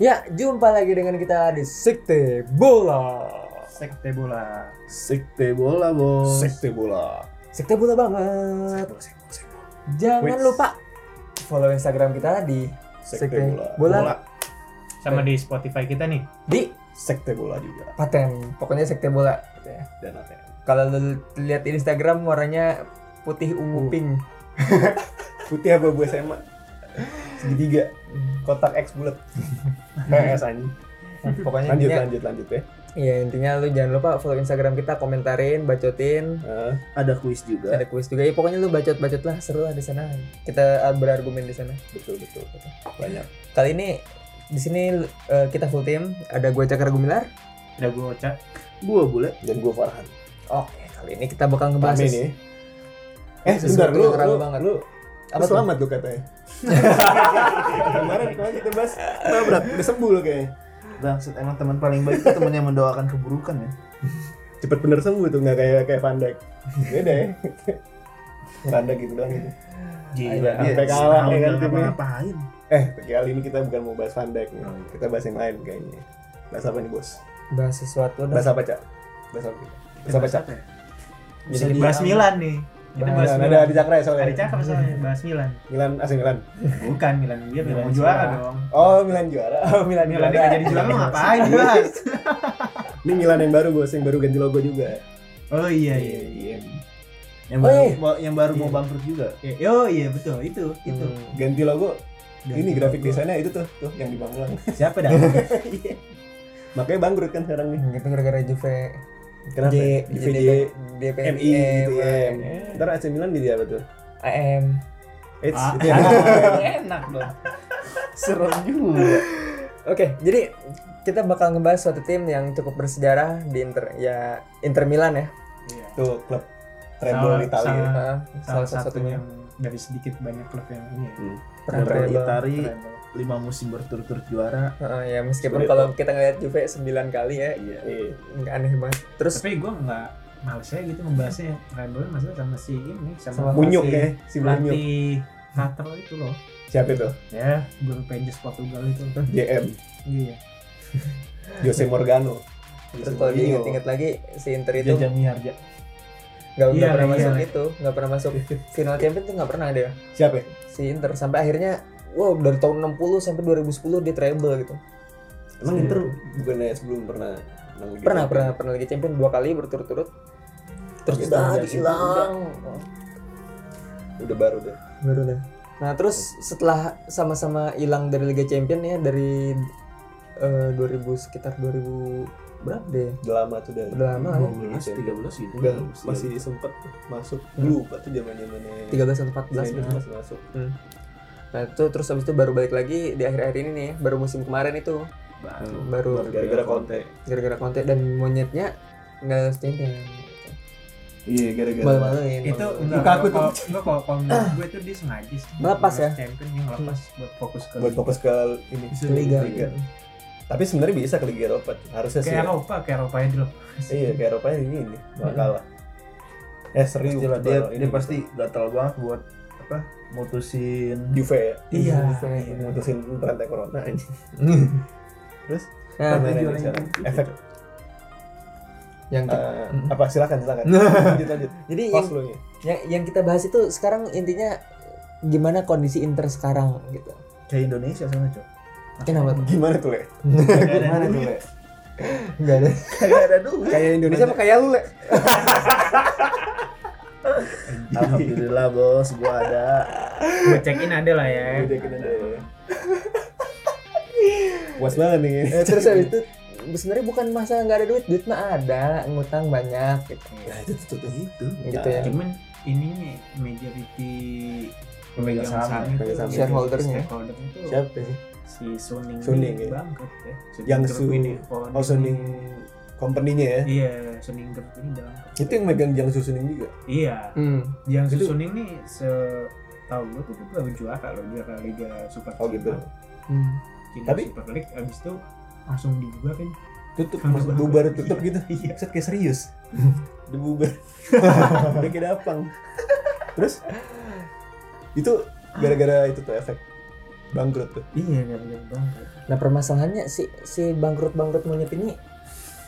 Ya, jumpa lagi dengan kita di Sekte Bola. Sekte bola. Sekte bola bos. bola. Sekte Bola banget. Sekte bola. Sekte bola. Sekte bola. Jangan Wits. lupa follow Instagram kita di Sekte Bola. Bola Sama di Spotify kita nih. di Sekte bola juga paten. Pokoknya Sekte Bola gitu ya. dan ATM. Kalau lu lihat di Instagram warnanya putih Uh. ungu pink. Putih apa gue SMA? Segitiga. Kotak X bulat. PS anjing. Nah, pokoknya Lanjut intinya, lanjut lanjut ya. ya intinya lu jangan lupa follow Instagram kita, komentarin, bacotin. Nah, ada kuis juga. Ada kuis juga. Ya pokoknya lu bacot-bacot lah, seru lah di sana. Kita uh, berargumen di sana. Betul betul. betul. Banyak. Kali ini di sini uh, kita full team, ada gue Cakar Gumilar. Ada gue Oca. Gua bule dan gua Farhan. Oke, kali ini kita bakal ngebahas Rame nih. Eh, sesuatu sebentar lu yang rame lu, banget. lu apa Apa tuh? selamat tuh katanya. kemarin kemarin kita bahas nabrak, udah sembuh lo kayaknya. Bangsat emang teman paling baik itu teman yang mendoakan keburukan ya. Cepet bener sembuh tuh nggak kayak kayak Pandek. Beda ya. Pandek gitu doang gitu. Gila. Sampai kalah ya kan timnya. ngapain? Eh, kali ini kita bukan mau bahas Van Dijk nih. Kita bahas yang lain kayaknya. Bahas apa nih, Bos? bahas sesuatu Bahas dah. apa, Cak? Bahas apa? kita? Bahas apa, Cak? Bisa dibahas Milan nih. Kita bahas Milan, Milan. ada di Cakra ya soalnya. Ada cakap soalnya bahas Milan. Milan AC Milan. Bukan Milan dia Milan Milan mau juara juara. dong. Oh, Milan juara. Oh, Milan Milan dia nggak jadi juara lu ngapain bahas? Ini Milan yang baru, Bos, yang baru ganti logo juga. Oh iya iya. iya. Yang baru, Eh. mau- yang baru mau Iya. bangkrut juga. Eh, Oh iya betul itu itu. Hmm. Ganti logo. Ganti ini grafik logo. desainnya itu tuh, tuh yang dibangun ulang. Siapa dah? Iya. Makanya bangkrut kan sekarang nih. Itu gara-gara Juve Kenapa? ya? J- Di J- VJ, DPM, MI gitu ya. Ntar AC Milan jadi apa tuh? AM Eits, Ah, itu ya. Enak dong. Serem juga. Oke, jadi kita bakal ngebahas suatu tim yang cukup bersejarah di Inter ya Inter Milan ya. Iya. Tuh, klub Salah- treble Italia. salah- Heeh, Hmm. Salah satu yang dari sedikit banyak klub yang ini ya. Hmm. pernah Dari treble. Itari Treble. lima musim berturut-turut juara. Heeh, ya meskipun Sulit, kalau kita ngeliat Juve 9 kali ya Iya. nggak aneh banget. Terus tapi gue nggak males aja gitu membahasnya Rebel maksudnya sama si ini sama, Sama Munyuk si ya, si Munyuk. pelatih Qatar itu loh Siapa itu? ya guru Pages Portugal itu JM, iya Jose Morgano. iya, terus kalau diinget-inget lagi si Inter itu Jajang nggak Miharja. nggak Iya, pernah iya. masuk itu, nggak pernah masuk final champion tuh nggak pernah dia. Siapa? ya? Si Inter sampai akhirnya wow dari tahun 60 sampai 2010 dia treble gitu. Emang Inter bukannya sebelum pernah menang Liga pernah Champions? pernah pernah lagi champion dua kali berturut-turut terus Gitu, udah dari situ hilang Udah baru deh. baru deh nah terus setelah sama-sama hilang dari Liga Champion ya dari eh, 2000 sekitar 2000 berapa deh Udah lama tuh dari. udah lama lah ya. 12, 13 gitu. Udah masih sempet masuk dulu waktu zaman zamannya 13 atau 14 Snyder nah. masih masuk. nah itu terus habis itu baru balik lagi di akhir-akhir ini nih baru musim kemarin itu baru Gara-gara Conte. gara-gara konten dan monyetnya nggak champion Iya, gara-gara. malu-maluin itu malu-maluin. enggak Lukaku kalau enggak kalau kalau menurut gue tuh dia sengaja sih Melepas ya? champion yang lepas buat fokus ke Buat fokus ke ini. Ke Liga. Tapi sebenarnya bisa ke Liga Eropa. Harusnya ke sih. ya. Eropa ke Eropa aja dulu Iya, ke Eropa ini ini. Nggak kalah. Eh, serius. Pastilah dia Ini dia pasti gatal banget buat apa? Mutusin Juve ya. Iya. Mutusin rantai corona ini. Terus Nah, tujuan permainan ini yang sekarang. gitu. efek yang ke- eh, apa silakan silakan lanjut lanjut jadi yang pas lu nya yang, yang kita bahas itu sekarang intinya gimana kondisi Inter sekarang gitu. kayak Indonesia sama Cok. Kenapa tuh? gimana tuh le Gimana tuh, Le? Enggak ada. Kagak ada duit. kayak Indonesia apa kayak lu le Alhamdulillah bos, gua ada. gue check in ada lah ya udah kita deh puas banget nih Eh, terus habis itu sebenarnya bukan masalah nggak ada duit, duit mah ada, ngutang banyak gitu. Ya, Nah, itu tuh itu. Gitu ya. cuman ininya majority Pemegang pemegang saham saham, ya pemegang itu saham. Shareholdernya. stakeholder itu siapa sih si Suning, Suning, ini ya? bangkrut ya. Suning Yang Group Su- ini, Pon oh Suning ini. company-nya ya Iya, Suning Group ini bangkrut. itu yang megang Jiangsu Suning juga Iya, Hmm. yang Itu- Suning nih se tahu gue tuh dia baru juara loh dia ke Liga Super oh gitu Cina Tapi- Super League abis itu langsung dibubarin tutup Kalau maksud bagus. bubar tutup Iya. gitu Iya. Set kayak serius dibubar udah kayak dapang terus itu gara-gara itu tuh efek bangkrut tuh Iya, gara-gara bangkrut. Nah permasalahannya si si bangkrut bangkrut monyet ini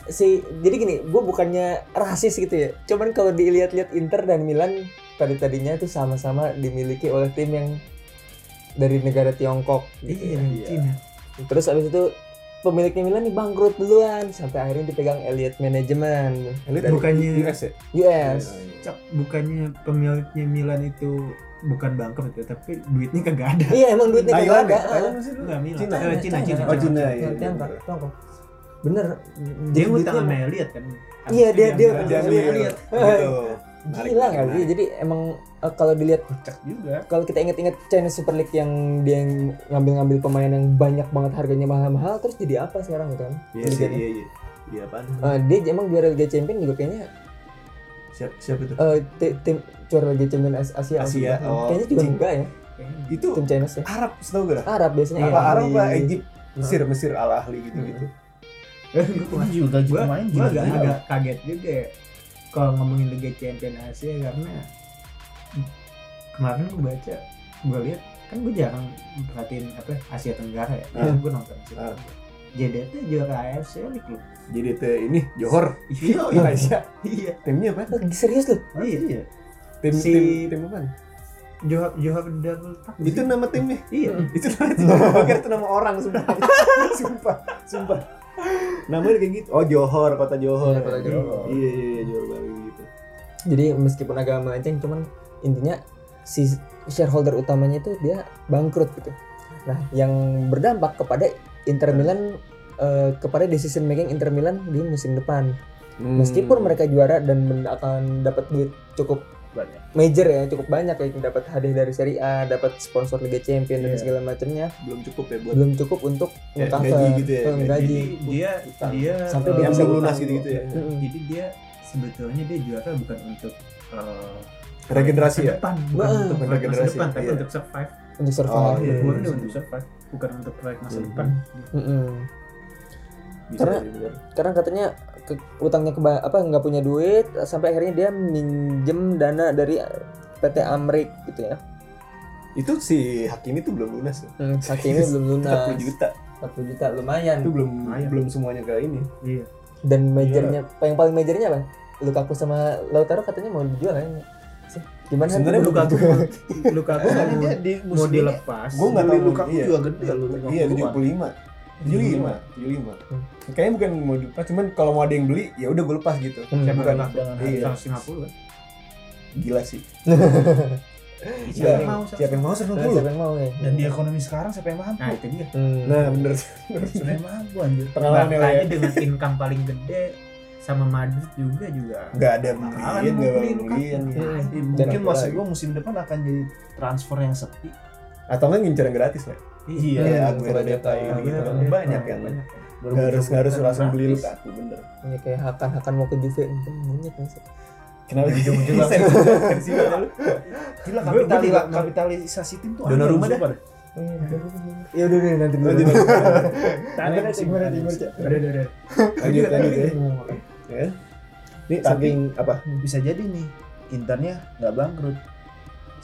si jadi gini, gue bukannya rasis gitu ya. Cuman kalau dilihat-lihat Inter dan Milan tadi tadinya itu sama-sama dimiliki oleh tim yang dari negara Tiongkok. Iya, Gitu. ya. Iya. Cina. Terus abis itu pemiliknya Milan nih bangkrut duluan sampai akhirnya dipegang Elliot Management Ini dari Bukannya- US ya US. Cak, bukannya pemiliknya Milan itu bukan bangkrut ya, tapi duitnya kagak ada. Iya emang duitnya kagak Thailand ya ada. Thailand sih dulu Enggak Milan. Cina. Eh, Cina, Cina. Oh, Cina, iya, iya, Tiongkok, iya. Tiongkok. Bener. Dia duitnya utang sama emang- Elliot kan. Iya, dia- dia- dia- Elliot. gitu Menarik, Gila nggak sih? menarik. Jadi emang eh, kalau dilihat Kocak juga. kalau kita inget-inget China Super League yang dia yang ngambil-ngambil pemain yang banyak banget harganya mahal-mahal terus jadi apa sekarang kan? iya sih iya iya iya apaan Eh, dia emang juara Liga Champion juga kayaknya siapa siapa itu eh, ti- tim juara Liga Champion As- Asia. Asia, maksudnya. oh. Kayaknya juga Cing. enggak ya itu tim China sih. Arab setahu gue lah Arab biasanya ya. apa Ahli. Arab Eh, lah Egypt Mesir Mesir al ahli gitu gitu Itu juga gaji Gua, pemain gua juga. agak, gila. agak kaget juga ya kalau ngomongin Liga Champion Asia karena kemarin gue baca gue lihat kan gue jarang perhatiin apa Asia Tenggara ya Ah. gue nonton Asia Ah. Tenggara. JDT juara AFC League loh. jadi itu ini Johor Iya, Malaysia iya, timnya apa Eh, serius loh. iya. tim Si- tim tim apa Johor Johor Darul Takzim. itu nama timnya iya. itu nama tim Gua kira itu nama orang sumpah sumpah sumpah namanya kayak gitu oh Johor kota Johor Iya, kota Johor. iya iya iya, Johor baru gitu Jadi meskipun agak melenceng cuman intinya si shareholder utamanya itu dia bangkrut gitu. Nah, yang berdampak kepada Inter Milan eh, kepada decision making Inter Milan di musim depan. Hmm. meskipun mereka juara dan men- akan dapat duit cukup Banyak. major ya cukup banyak ya dapat hadiah dari Serie A dapat sponsor Liga Champions dan Iya. segala macamnya belum cukup ya buat belum cukup untuk Ya, meng-cover, gaji gitu ya, eh, gaji. gaji. Jadi dia Utang. dia Sampai eh, dia yang bisa belum utang. lunas gitu gitu ya Mm-mm. jadi dia sebetulnya dia juara bukan untuk eh, regenerasi masa ya depan, bukan Nah, untuk bukan proyek masa regenerasi, depan, tapi iya. untuk survive. untuk Oh, survive. iya, Bukan iya. untuk survive, bukan untuk proyek masa Hmm. depan. Mm-mm. Bisa Karena- jadi bener. Karena katanya ke- utangnya ke apa nggak punya duit sampai akhirnya dia minjem dana dari PT Amrik gitu ya. itu si Hakimi tuh belum lunas ya Hmm, Hakimi belum lunas. 40 juta 40 juta lumayan. itu belum Lumayan. belum semuanya ke ini Iya. Dan majornya yang paling majornya apa? Lukaku sama Lautaro katanya mau dijual kan. Gimana? Sebenarnya Lukaku? Lukaku Lukaku Soalnya mau, dia di mau musim ini, dilepas. gue nggak tahu Beli Lukaku iya. juga gede loh, iya 50-an. tujuh puluh lima tujuh lima tujuh lima kayaknya bukan mau dilepas cuman kalau mau ada yang beli ya udah gue lepas gitu Hmm. Siapa bukan bilang dengan iya 150 kan? gila sih Siapa Iya. yang mau siapa yang mau Nah, seratus lima puluh siapa yang mau ya? Dan di ekonomi sekarang siapa yang mampu? Nah, itu dia. Hmm. nah bener Siapa yang mampu anjir? Pengalaman ya, Makanya ya. dengan income paling gede sama Madrid juga juga. nggak ada yang Iya, Apaan beliin mau nggak Iya, beli kan. ada yang beliin Lukaku? Hmm. Ya, Dan mungkin apa maksud lagi? gua musim depan akan jadi transfer yang sepi. atau nggak ngincer yang gratis lah Iya, kayak Hmm, Aguero kalau dia Deta tahu. gitu Aguero iya. kan. banyak yang nggak harus nggak harus langsung beli Lukaku bener Ini kayak Hakan Hakan mau ke Juve mungkin monyet nih sih. kenapa gitu Ujung-ujung langsung. sensi banget lu Gua- Gila gua kapitali- juga- kapitalisasi tim tuh. Donnarumma aneh, dah. sumpah Ya udah deh nanti dulu. Lanjut, lanjut. Tarik Gimana, sih, gimana, tarik gimana, sih. Cak? Udah, udah, udah. lanjut lanjut ya Ya. ini saking apa Bisa jadi nih Internya nggak bangkrut.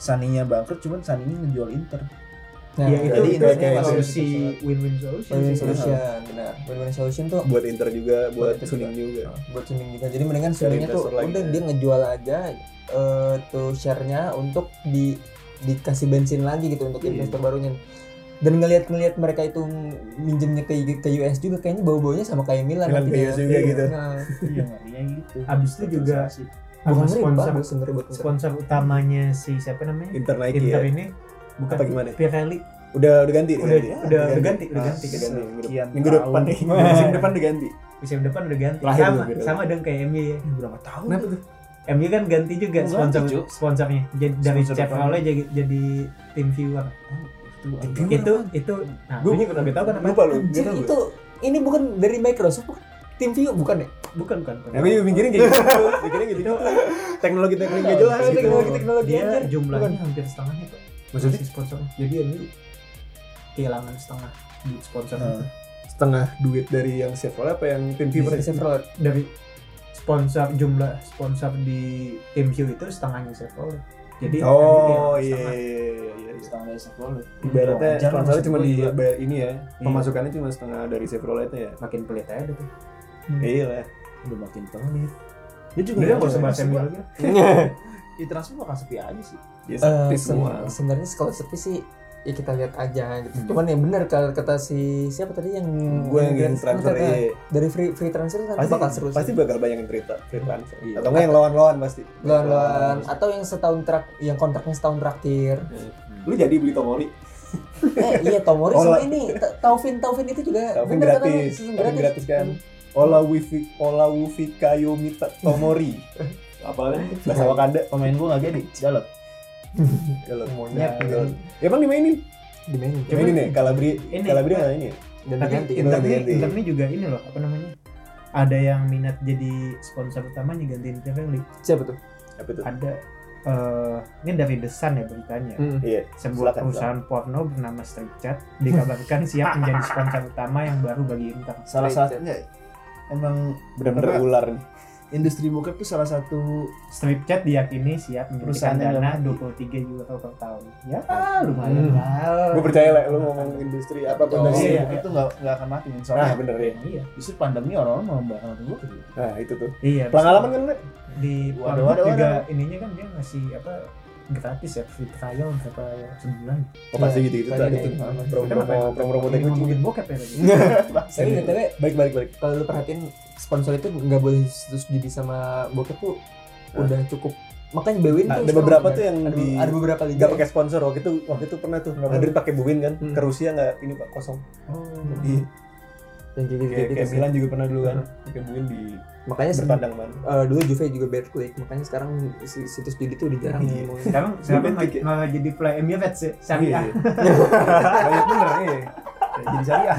Saninya bangkrut, cuman Saninya ngejual Inter. Nah, Ya itu Jadi itu intinya kayak kalau- solusi win-win solution. win-win sih. solution, benar. Win-win solution tuh buat Inter juga buat Inter Suning juga buat Suning juga. Jadi mendingan Suningnya tuh investor lain udah ya. dia ngejual aja eh, tuh share-nya untuk di dikasih bensin lagi gitu untuk Iya. investor barunya. Dan ngelihat-ngelihat mereka itu minjemnya ke ke US juga kayaknya bau-baunya sama kayak Milan Milan ke nantinya. US juga Iya. gitu Nah, Iya, ngerinya gitu. Abis itu juga Kapitalisasi. bukan sama ngeri, sponsor bagus sebenarnya buat Inter. sponsor utamanya si siapa namanya? Inter Nike Inter ya ini bukan Apa gimana? Pirelli. udah udah ganti Udah- ganti. udah- udah ganti, udah Ah, ganti. udah ganti. Minggu Sekian dep- minggu tahun. depan nih musim depan udah ganti Musim depan udah ganti. Terakhir sama tuh Pirelli. sama dong kayak MU ya. Berapa tahun? Kenapa tuh? MU kan ganti juga Ganti, sponsor Cuk. sponsornya. Jadi dari Sponsor Chevrolet jadi jadi tim viewer. Itu Itu itu nah, Gua- ini kurang lebih tahu kan apa? lupa lu Anjir, Gak tau itu ini bukan dari Microsoft bukan? Tim View bukan ya? Bukan bukan. gue. Nah, gue juga mikirin kayak gitu mikirin gitu teknologi teknologi gak jelas Teknologi- gitu teknologi Dia anjir. jumlahnya Bukan. hampir setengahnya Pak. Maksudnya? Hmm. Si sponsor. Jadi MU kehilangan setengah duit sponsor. Nah. setengah duit dari yang Chevrolet apa yang tim Fever Bisa Chevrolet. dari sponsor jumlah sponsor di tim Hugh itu setengahnya Chevrolet. Jadi oh nanti dia iya setengah. iya iya, iya iya. setengah dari Chevrolet ibaratnya Wajar lah, sponsornya maksud cuma gua di juga. bayar ini ya Iya. pemasukannya cuma setengah dari Chevroletnya ya makin pelit aja gitu. tuh. iya lah udah makin pelit dia Iya, juga Udah nggak nggak usah tahu bahas ya, MU maksud lagi. gua, di transfer bakal sepi aja sih ya Eh, sepi semua sen- sebenarnya kalau sepi sih ya kita lihat aja gitu. Hmm. Cuman yang benar kalau kata si siapa tadi yang gue yang ingin Grand- transfer kata, iya. dari free free transfer nanti pasti bakal seru. pasti sih. bakal banyak yang cerita free transfer Iya. atau enggak yang lawan-lawan pasti Lawan-lawan atau yang setahun terak yang kontraknya setahun terakhir. Iya. lu jadi beli Tomori eh iya Tomori Ola. sama ini Ta- Taufin Taufin itu juga Taufin bener katanya, gratis season Taufin gratis kan Ola Wifi Ola Wifi Kayo Mita Tomori apa bahasa Wakanda pemain gua nggak gede jalan Galot. Monyet. Galot. emang Ya, dimainin dimainin dimainin ya Calabria Ini. Calabria nggak ini ya? dan Tapi diganti Inter ini, ganti. Inter ini juga ini loh apa namanya? Ada yang minat jadi sponsor utamanya gantiin Premier League. siapa tuh apa itu Ada eh, ini dari The Sun ya beritanya. iya Sebuah Silakan, perusahaan porno bernama Stripchat dikabarkan siap menjadi sponsor utama yang baru bagi Inter. salah satunya emang bener-bener Apa? ular nih industri bokep tuh salah satu Stripchat diyakini siap memberikan Perusahaan yang dana dalam 23 euro per tahun. Ya, lumayan Hmm. lah. gue percaya lah lu ngomong industri apa Oh, pun dari industri iya. bokep tuh nggak nggak akan mati men. nah soalnya bener ya Iya. justru pandemi orang-orang mau bahas nonton bokep gitu. nah itu tuh Iya. pengalaman kan Le? di Waduh, Pornhub waduh, juga ininya kan dia ngasih apa gratis ya free trial berapa sebulan. oh pasti Iya, gitu gitu tadi tadi kayak Iya, tuh gitu. Kita promo ngapain? promo promo Ini tadi ngomongin bokep ya tadi. tapi btw balik balik balik kalau lu perhatiin sponsor itu nggak boleh terus jadi sama bokep tuh Hah? udah cukup makanya Bwin tuh Nah. ada sekarang beberapa udah- tuh yang ada, di- ada beberapa liga nggak pakai sponsor waktu itu waktu itu pernah tuh Madrid pakai Buwin kan Iya. Hmm. Iya. ke Rusia nggak ini pak kosong Oh. di yang kayak gitu, kayak, kayak sih. Milan juga pernah dulu kan pakai Buwin di makanya se- bertandang mana eh, dulu Juve juga bad click makanya sekarang si- situs judi tuh udah jarang Iya. ngomongin. Sekarang sekarang Romantik ya? malah jadi play MU vet sih. Syariah. Iya. banyak bener iya jadi syariah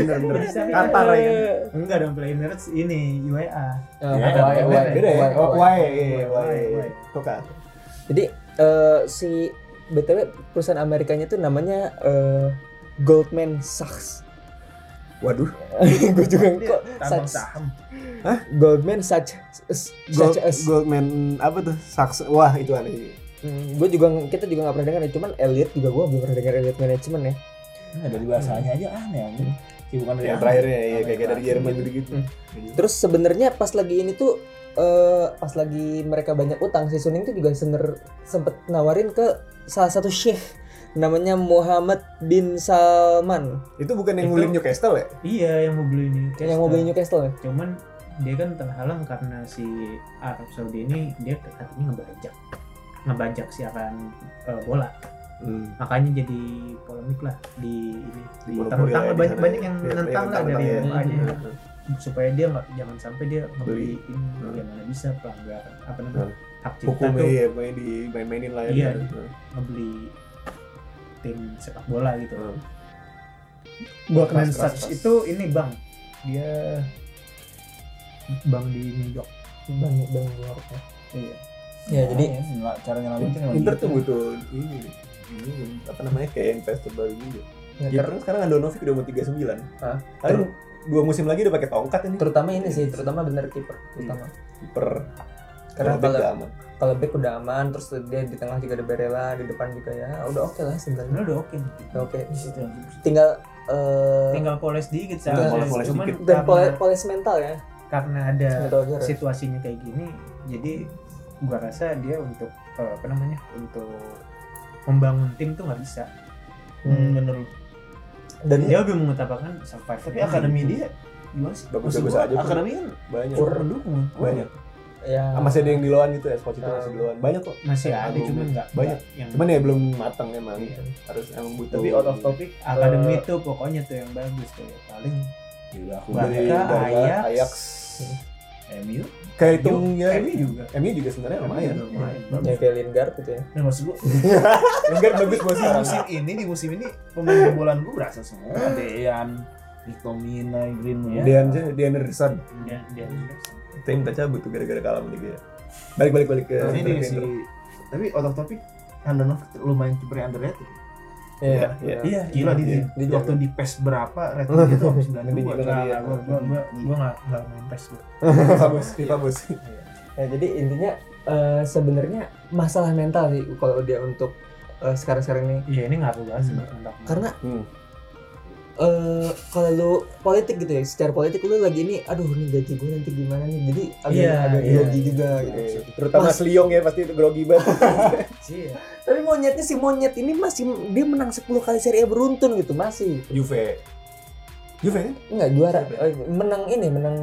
bener bener Jadi syariah. Qatar ya kan Enggak dong play Emirates ini UAE. Eh, Ya, Hawaii, beda Hawaii, beda ya. Hawaii, Oh, Hawaii. Why, iya, why, Why, why. Tuh kan. Jadi eh, si BTW perusahaan Amerikanya tuh namanya eh, Goldman Sachs. Waduh, Gue juga kok tambang Sachs. Iya, saham Goldman Sachs. Gold, Sachs. Goldman apa tuh? Saks. Wah, itu gue aneh. Hmm, juga kita juga nggak pernah dengar ya. Cuman Elliot juga gue belum pernah dengar Elliot Management ya. Nah, dari bahasanya aja aneh anjing. Sih bukan Hmm. Yang dari aneh. terakhirnya ya Aneh kayak kayak dari terakhir. Jerman gitu gitu. Terus sebenarnya pas lagi ini tuh eh, pas lagi mereka banyak utang si Suning tuh juga sener sempet nawarin ke salah satu syekh namanya Muhammad bin Salman Itu bukan yang Itu- ngulin Newcastle ya? Iya, yang mau beli ini. yang mau beli Newcastle ya. Cuman dia kan terhalang karena si Arab Saudi ini dia katanya ngebajak ngebajak siaran eh, bola makanya jadi polemik lah di ini di Monopoli tentang lah ya di banyak banyak sana. yang Iya, nentang lah dari tentang-tentang ya. makanya Hmm. supaya dia nggak jangan sampai dia Beli. Hmm. Iya. ngebeli ini bagaimana bisa pelanggaran apa namanya hak cipta Hukumnya tuh ya, pokoknya dimain-mainin lah ya. Iya. Heeh. ngebeli tim sepak bola gitu. Hmm. Goldman Keras, keras, Sachs keras. itu ini bang dia bang di New York. banyak banget luar Iya. ya jadi Aneh, Oh, iya, nggak- cara nyelamatin emang Inter gitu. tuh butuh ini ini apa namanya kayak investor baru juga. Inter Iya. ter- sekarang Andonovic udah mau 39. Gitu. Hah? Paling dua musim lagi udah pakai tongkat ini. terutama ini sih terutama bener kiper iya. terutama Kiper. karena Kalau back kalau nggak aman. kalau back udah aman terus dia di tengah juga ada Barella di depan juga ya udah oke lah sebenarnya Sebenarnya udah oke. udah oke Di situ yang tinggal eh, Tinggal poles dikit sih. Tinggal harusnya. poles-poles Cuman dikit. dan pole- karena, polis mental ya karena ada mental juara. situasinya kayak gini, jadi gua rasa dia untuk eh, apa namanya untuk membangun tim tuh nggak bisa. Hmm. bener lu. dan Dia lebih mengutamakan gitu. survive. Tapi akademi dia gimana sih? Bagus-bagus Maksud gua, aja, Bro. Akademi kan Banyak. Kur- mendukung. Banyak. ya Ah, masih ada yang di loan gitu ya, Esposito Hmm. masih di loan. Banyak kok. masih ada Agung. cuman nggak Banyak. nggak yang Cuman ya belum matang emang. Iya. Harus emang butuh. Tapi out of topic akademi tuh pokoknya tuh yang bagus tuh ya. paling dari Barca, dari Ajax. Ajax. MU. Kayak hitung ya MU ini. juga MU juga sebenarnya lumayan. lumayan ya bagus. kayak Lingard gitu ya Nah, maksud gua Lingard bagus buat di sekarang. musim ini di musim ini pemain kebobolan gua berasa semua. Dean, Victomina, Greenwood. Dean Dean Henderson. Dan dia Itu yang kita cabut tuh gara-gara kalah sama dia. Balik balik balik ke Iya, Tapi ini Inter, sih. Inter. Tapi out of topic Andonovic lumayan kiper yang underrated. Iya. Iya. iya. Iya, Gila iya, di, iya. di- Dia waktu di PES berapa ratingnya itu habis 92. Ini juga Nggak, kali ya. nggak, gua gua gua gua nggak nggak main pes gua. FIFA bos, FIFA bos. Nah, jadi intinya eh, sebenarnya masalah mental sih kalau dia untuk eh, sekarang-sekarang ini Iya ini ngaruh banget sih Hmm. tentang- karena Hmm. eh kalau lu politik gitu ya secara politik lu lagi ini aduh ini gaji gue nanti gimana nih jadi agak Iya, agak iya. grogi juga gitu Iya. Terutama Mas- Sliong ya pasti itu grogi banget. Iya. tapi monyetnya si monyet ini masih dia menang 10 kali seri A beruntun gitu masih Juve. Juve kan? enggak juara Eh, menang ini menang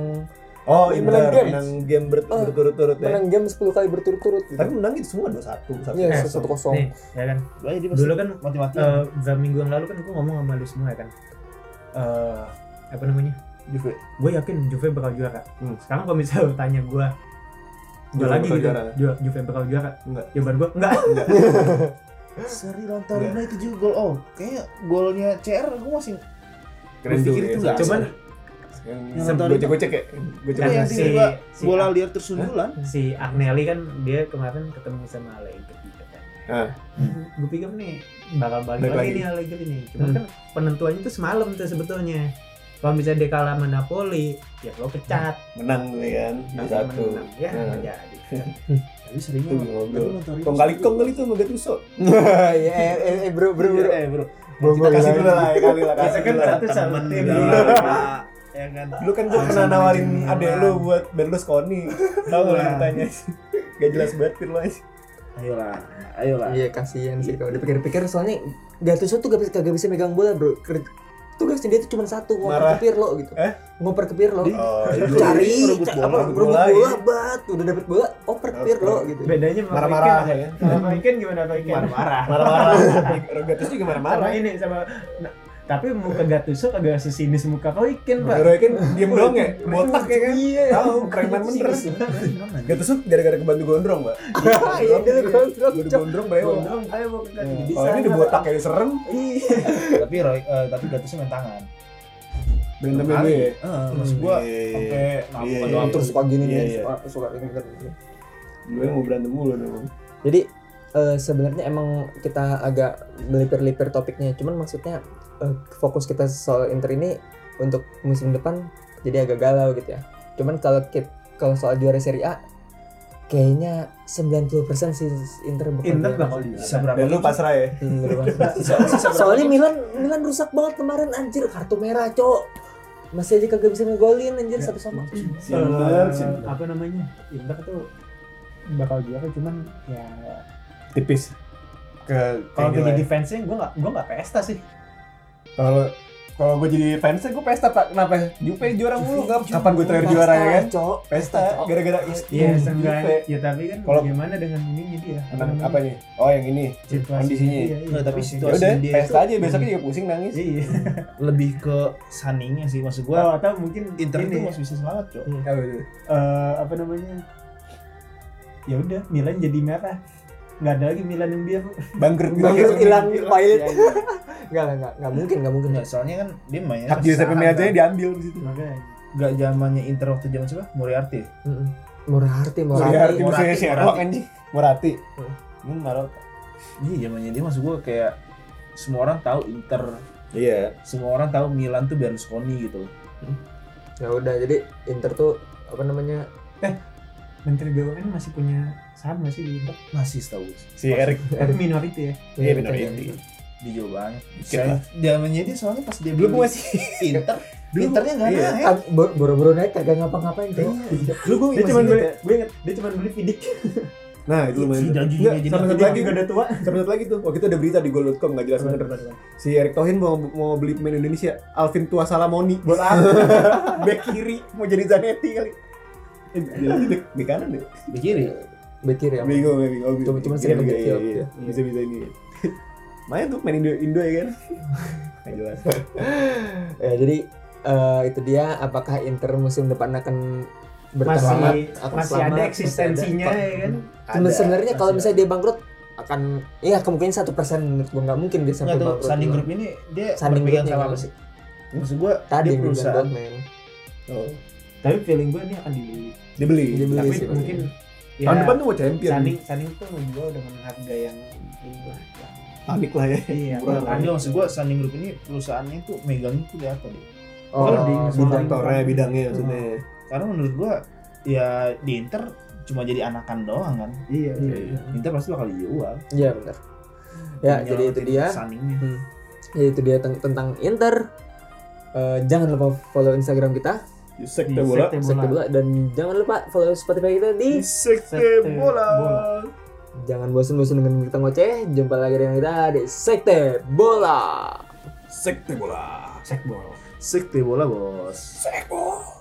Oh, Menang Inter game. menang game ber- Oh. berturut-turut ya. menang jam 10 kali berturut-turut gitu. Tapi menang itu semua 2-1, 1-0. Iya, Eh, satu Nih, kosong. ya kan. Wah, iya, dia pasti Dulu kan mati-matian. eh beberapa minggu yang lalu kan gue ngomong sama lu semua ya kan eh apa namanya Juve. gue yakin Juve bakal juara Hmm. sekarang kalau misalnya lu tanya gue gue Juve lagi bakal gitu juara. "Ju- Juve bakal juara Enggak. jawaban gue enggak Seri Lontarina itu juga gol. Oh, kayaknya golnya CR gue masih Keren Gua tuh pikir ya, itu salah. nggak cuman yang Yang sem- nonton Iya. gocek-gocek ya. Cuma Karena yang Gocek-gocek. si- tiba-tiba si- bola liar tersundulan. si Agnelli kan dia kemarin ketemu sama Allegri katanya Ah. gue pikir nih bakal balik Balik lagi, lagi. nih Allegri nih cuman Hmm. kan penentuannya tuh semalam tuh sebetulnya kalau misalnya dia kalah sama Napoli ya lo pecat Menang gitu kan. Tapi 2-1. menang. ya Hmm. nggak jadi Tapi seringnya Itu ngobrol. Lontarina. Kong kali kong kali tuh sama Gattuso. Iya, eh, eh, eh, bro, bro, bro. Eh, bro. Bro, bro, Kita kasih bro. dulu lah ya kali lah kasih kan dulu lah. Iya. satu sama Temen tim. udah lama, ya kan. Lu kan gua pernah nawarin adek lu buat biar lu skoni. Tahu lu Iya. ceritanya. Gak jelas banget Fir, lu aja. Ayolah, ayolah. Iya kasihan sih kalau dipikir-pikir soalnya Gattuso tuh gak bisa, kagak bisa megang bola bro. Ker- Tugasnya dia tuh cuma satu ngoper Marah. ke Pirlo gitu. Eh? Ngoper ke Pirlo. Dia- Oh, Lu Cari merebut ca- bola, apa merebut merebut iya. bola, gitu. bola, iya. bat udah dapet bola oper ke Pirlo gitu. bedanya sama marah-marah Iken. ya. sama Iken gimana Pak Iken Marah-marah. Marah-marah. Gattuso juga sama marah-marah. ini sama nah, tapi muka Gattuso agak sesinis muka kau Iken pak Roy kan diem doang ya, botak ya kan? Iya. Tahu, preman bener. Gattuso gara-gara kebantu gondrong, Mbak. Iya dia tuh gondrong, Gue cok. gondrong ya. brewok. Gondrong, ayo mau ke Gattuso. Kalau ini udah botak kayak serem, Iya. Tapi Roy, eh, tapi Gattuso main tangan. berantem gue ya. Heeh, maksud gua Oke. sampai ngamuk Iya. Terus suka gini Iya, nih, iya. suka suka gini kan. Gue mau berantem mulu dong. Jadi eh, sebenarnya emang kita agak melipir-lipir topiknya, cuman maksudnya eh, fokus kita soal Inter ini untuk musim depan jadi agak galau gitu ya. Cuman kalau kit- kalau soal juara Serie A kayaknya 90% sih Inter bakal Inter juara. bakal Bisa juara berapa? Dan lu pasrah ya. Hmm, bener banget. iya. Soalnya Milan Milan rusak banget kemarin anjir kartu merah, Cok. Masih aja kagak bisa ngegolin anjir Iya. satu sama. Bener, Eh, sih. apa namanya Inter tuh bakal juara cuman ya Tipis. Ke kalau kayak jadi nilai. defense nya gue nggak gue nggak pesta sih Kalau kalau gue jadi fansnya gue pesta pak kenapa? Juve juara mulu Kap. kapan gue terakhir Pesta, juara ya kan? Cok. Pesta gara-gara Iya, Juve. seenggaknya. Ya tapi kan Kalau- gimana dengan ininya dia? Anak namanya? apa nih? Oh yang ini. Situasinya kondisinya ya? dia, iya. Nggak, tapi Kalau- Ya situasi- udah, Dia pesta itu- aja besoknya juga pusing nangis. Iya. lebih ke saninya sih maksud Oh, gua. atau mungkin Inter ini itu masih bisa semangat, Cok. Apa itu? eh, apa namanya? Ya udah, Milan jadi merah. Nggak ada lagi Milan yang biru. Bangkrut Bangkrut hilang pilot. Iya, iya. Enggak, enggak, enggak, enggak mungkin, enggak mungkin. Enggak, soalnya kan dia mainnya Hak Giuseppe Meazza nya diambil di situ. Makanya. Enggak zamannya Inter waktu zaman siapa? Moriarty. Mm-mm. Murahati, Moriarty Murahati. musuhnya Murati, Sherlock Murati. anjing. Murati. Hmm. Ini Marotta. Iya, zamannya dia maksud gua kayak semua orang tahu Inter, Iya. semua orang tahu Milan tuh Berlusconi gitu. Ya udah, jadi Inter tuh apa namanya? Menteri BUMN masih punya saham nggak sih di Inter? Masih tahu Si Erik. Tapi minority ya. Iya, benar minority. di Jawa banyak. Dikit Saya lah. zamannya dia soalnya pas dia Dulu beli gue masih Inter, Dulu- Internya enggak iya. ada. ya. Ah, Boro-boro naik kagak ngapa-ngapain tuh. Lu gue Dia cuma beli, gue inget, dia cuma beli Vidic. Nah, itu lumayan. Si Dagi Nggak, jadi sama satu Vidic lagi. juga udah tua. Sama satu lagi tuh. Waktu itu ada berita di goal.com enggak jelas bener. Si Erick Thohir mau mau beli pemain Indonesia, Alvin Tuasalamoni. Buat apa? Bek kiri mau jadi Zanetti kali. Eh, dia lagi bek bek kanan ya? deh. Di kiri. Bek kiri ya. Bingung, bingung. Cuma- cuma Iya, sering iya, kecil. iya, iya. Iya. Bisa-bisa ini. Main tuh main Indo Indo ya kan. Nggak jelas. Ya jadi eh, itu dia apakah Inter musim depan akan Masih bertahan akan masih selamat, ada masih eksistensinya ada. ya kan? Cuma Ada, sebenarnya masih kalau ada. misalnya dia bangkrut akan ya kemungkinan satu persen menurut gua nggak mungkin dia sampai Enggak tahu bangkrut. Sanding Group ini dia Sanding berpegang Groupnya sama kan. apa sih? Maksud gua tadi dia yang dibilang perusahaan Dortmund. Oh, Tapi feeling gue ini akan dibeli. dibeli. iya. Dibeli Tapi sih pasti. mungkin ya, Tahun depan tuh mau champion. Saning Saning tuh menjual dengan harga yang ini lah, yang panik lah ya Iya, Murah lah. Ini Ah, maksud gua Sunny Group ini perusahaannya tuh megangnya tuh kelihatan deh. Oh, Kalau di bidang. sektornya Iya, bidangnya maksudnya Karena menurut gua ya di Inter cuma jadi anakan doang kan. Iya, iya, Inter pasti bakal dijual. Iya benar. Ya, jadi itu dia. Sunningnya. Hmm. Ya itu dia teng- tentang Inter. Eh, jangan lupa follow Instagram kita Di Hmm, sekte bola Sekte Bola dan jangan lupa follow Spotify kita di sekte bola. Jangan bosan-bosan dengan kita ngoceh. Jumpa lagi dengan kita di Sekte Bola. sekte bola Sekbol. Sekte bola, Bos. sekte bola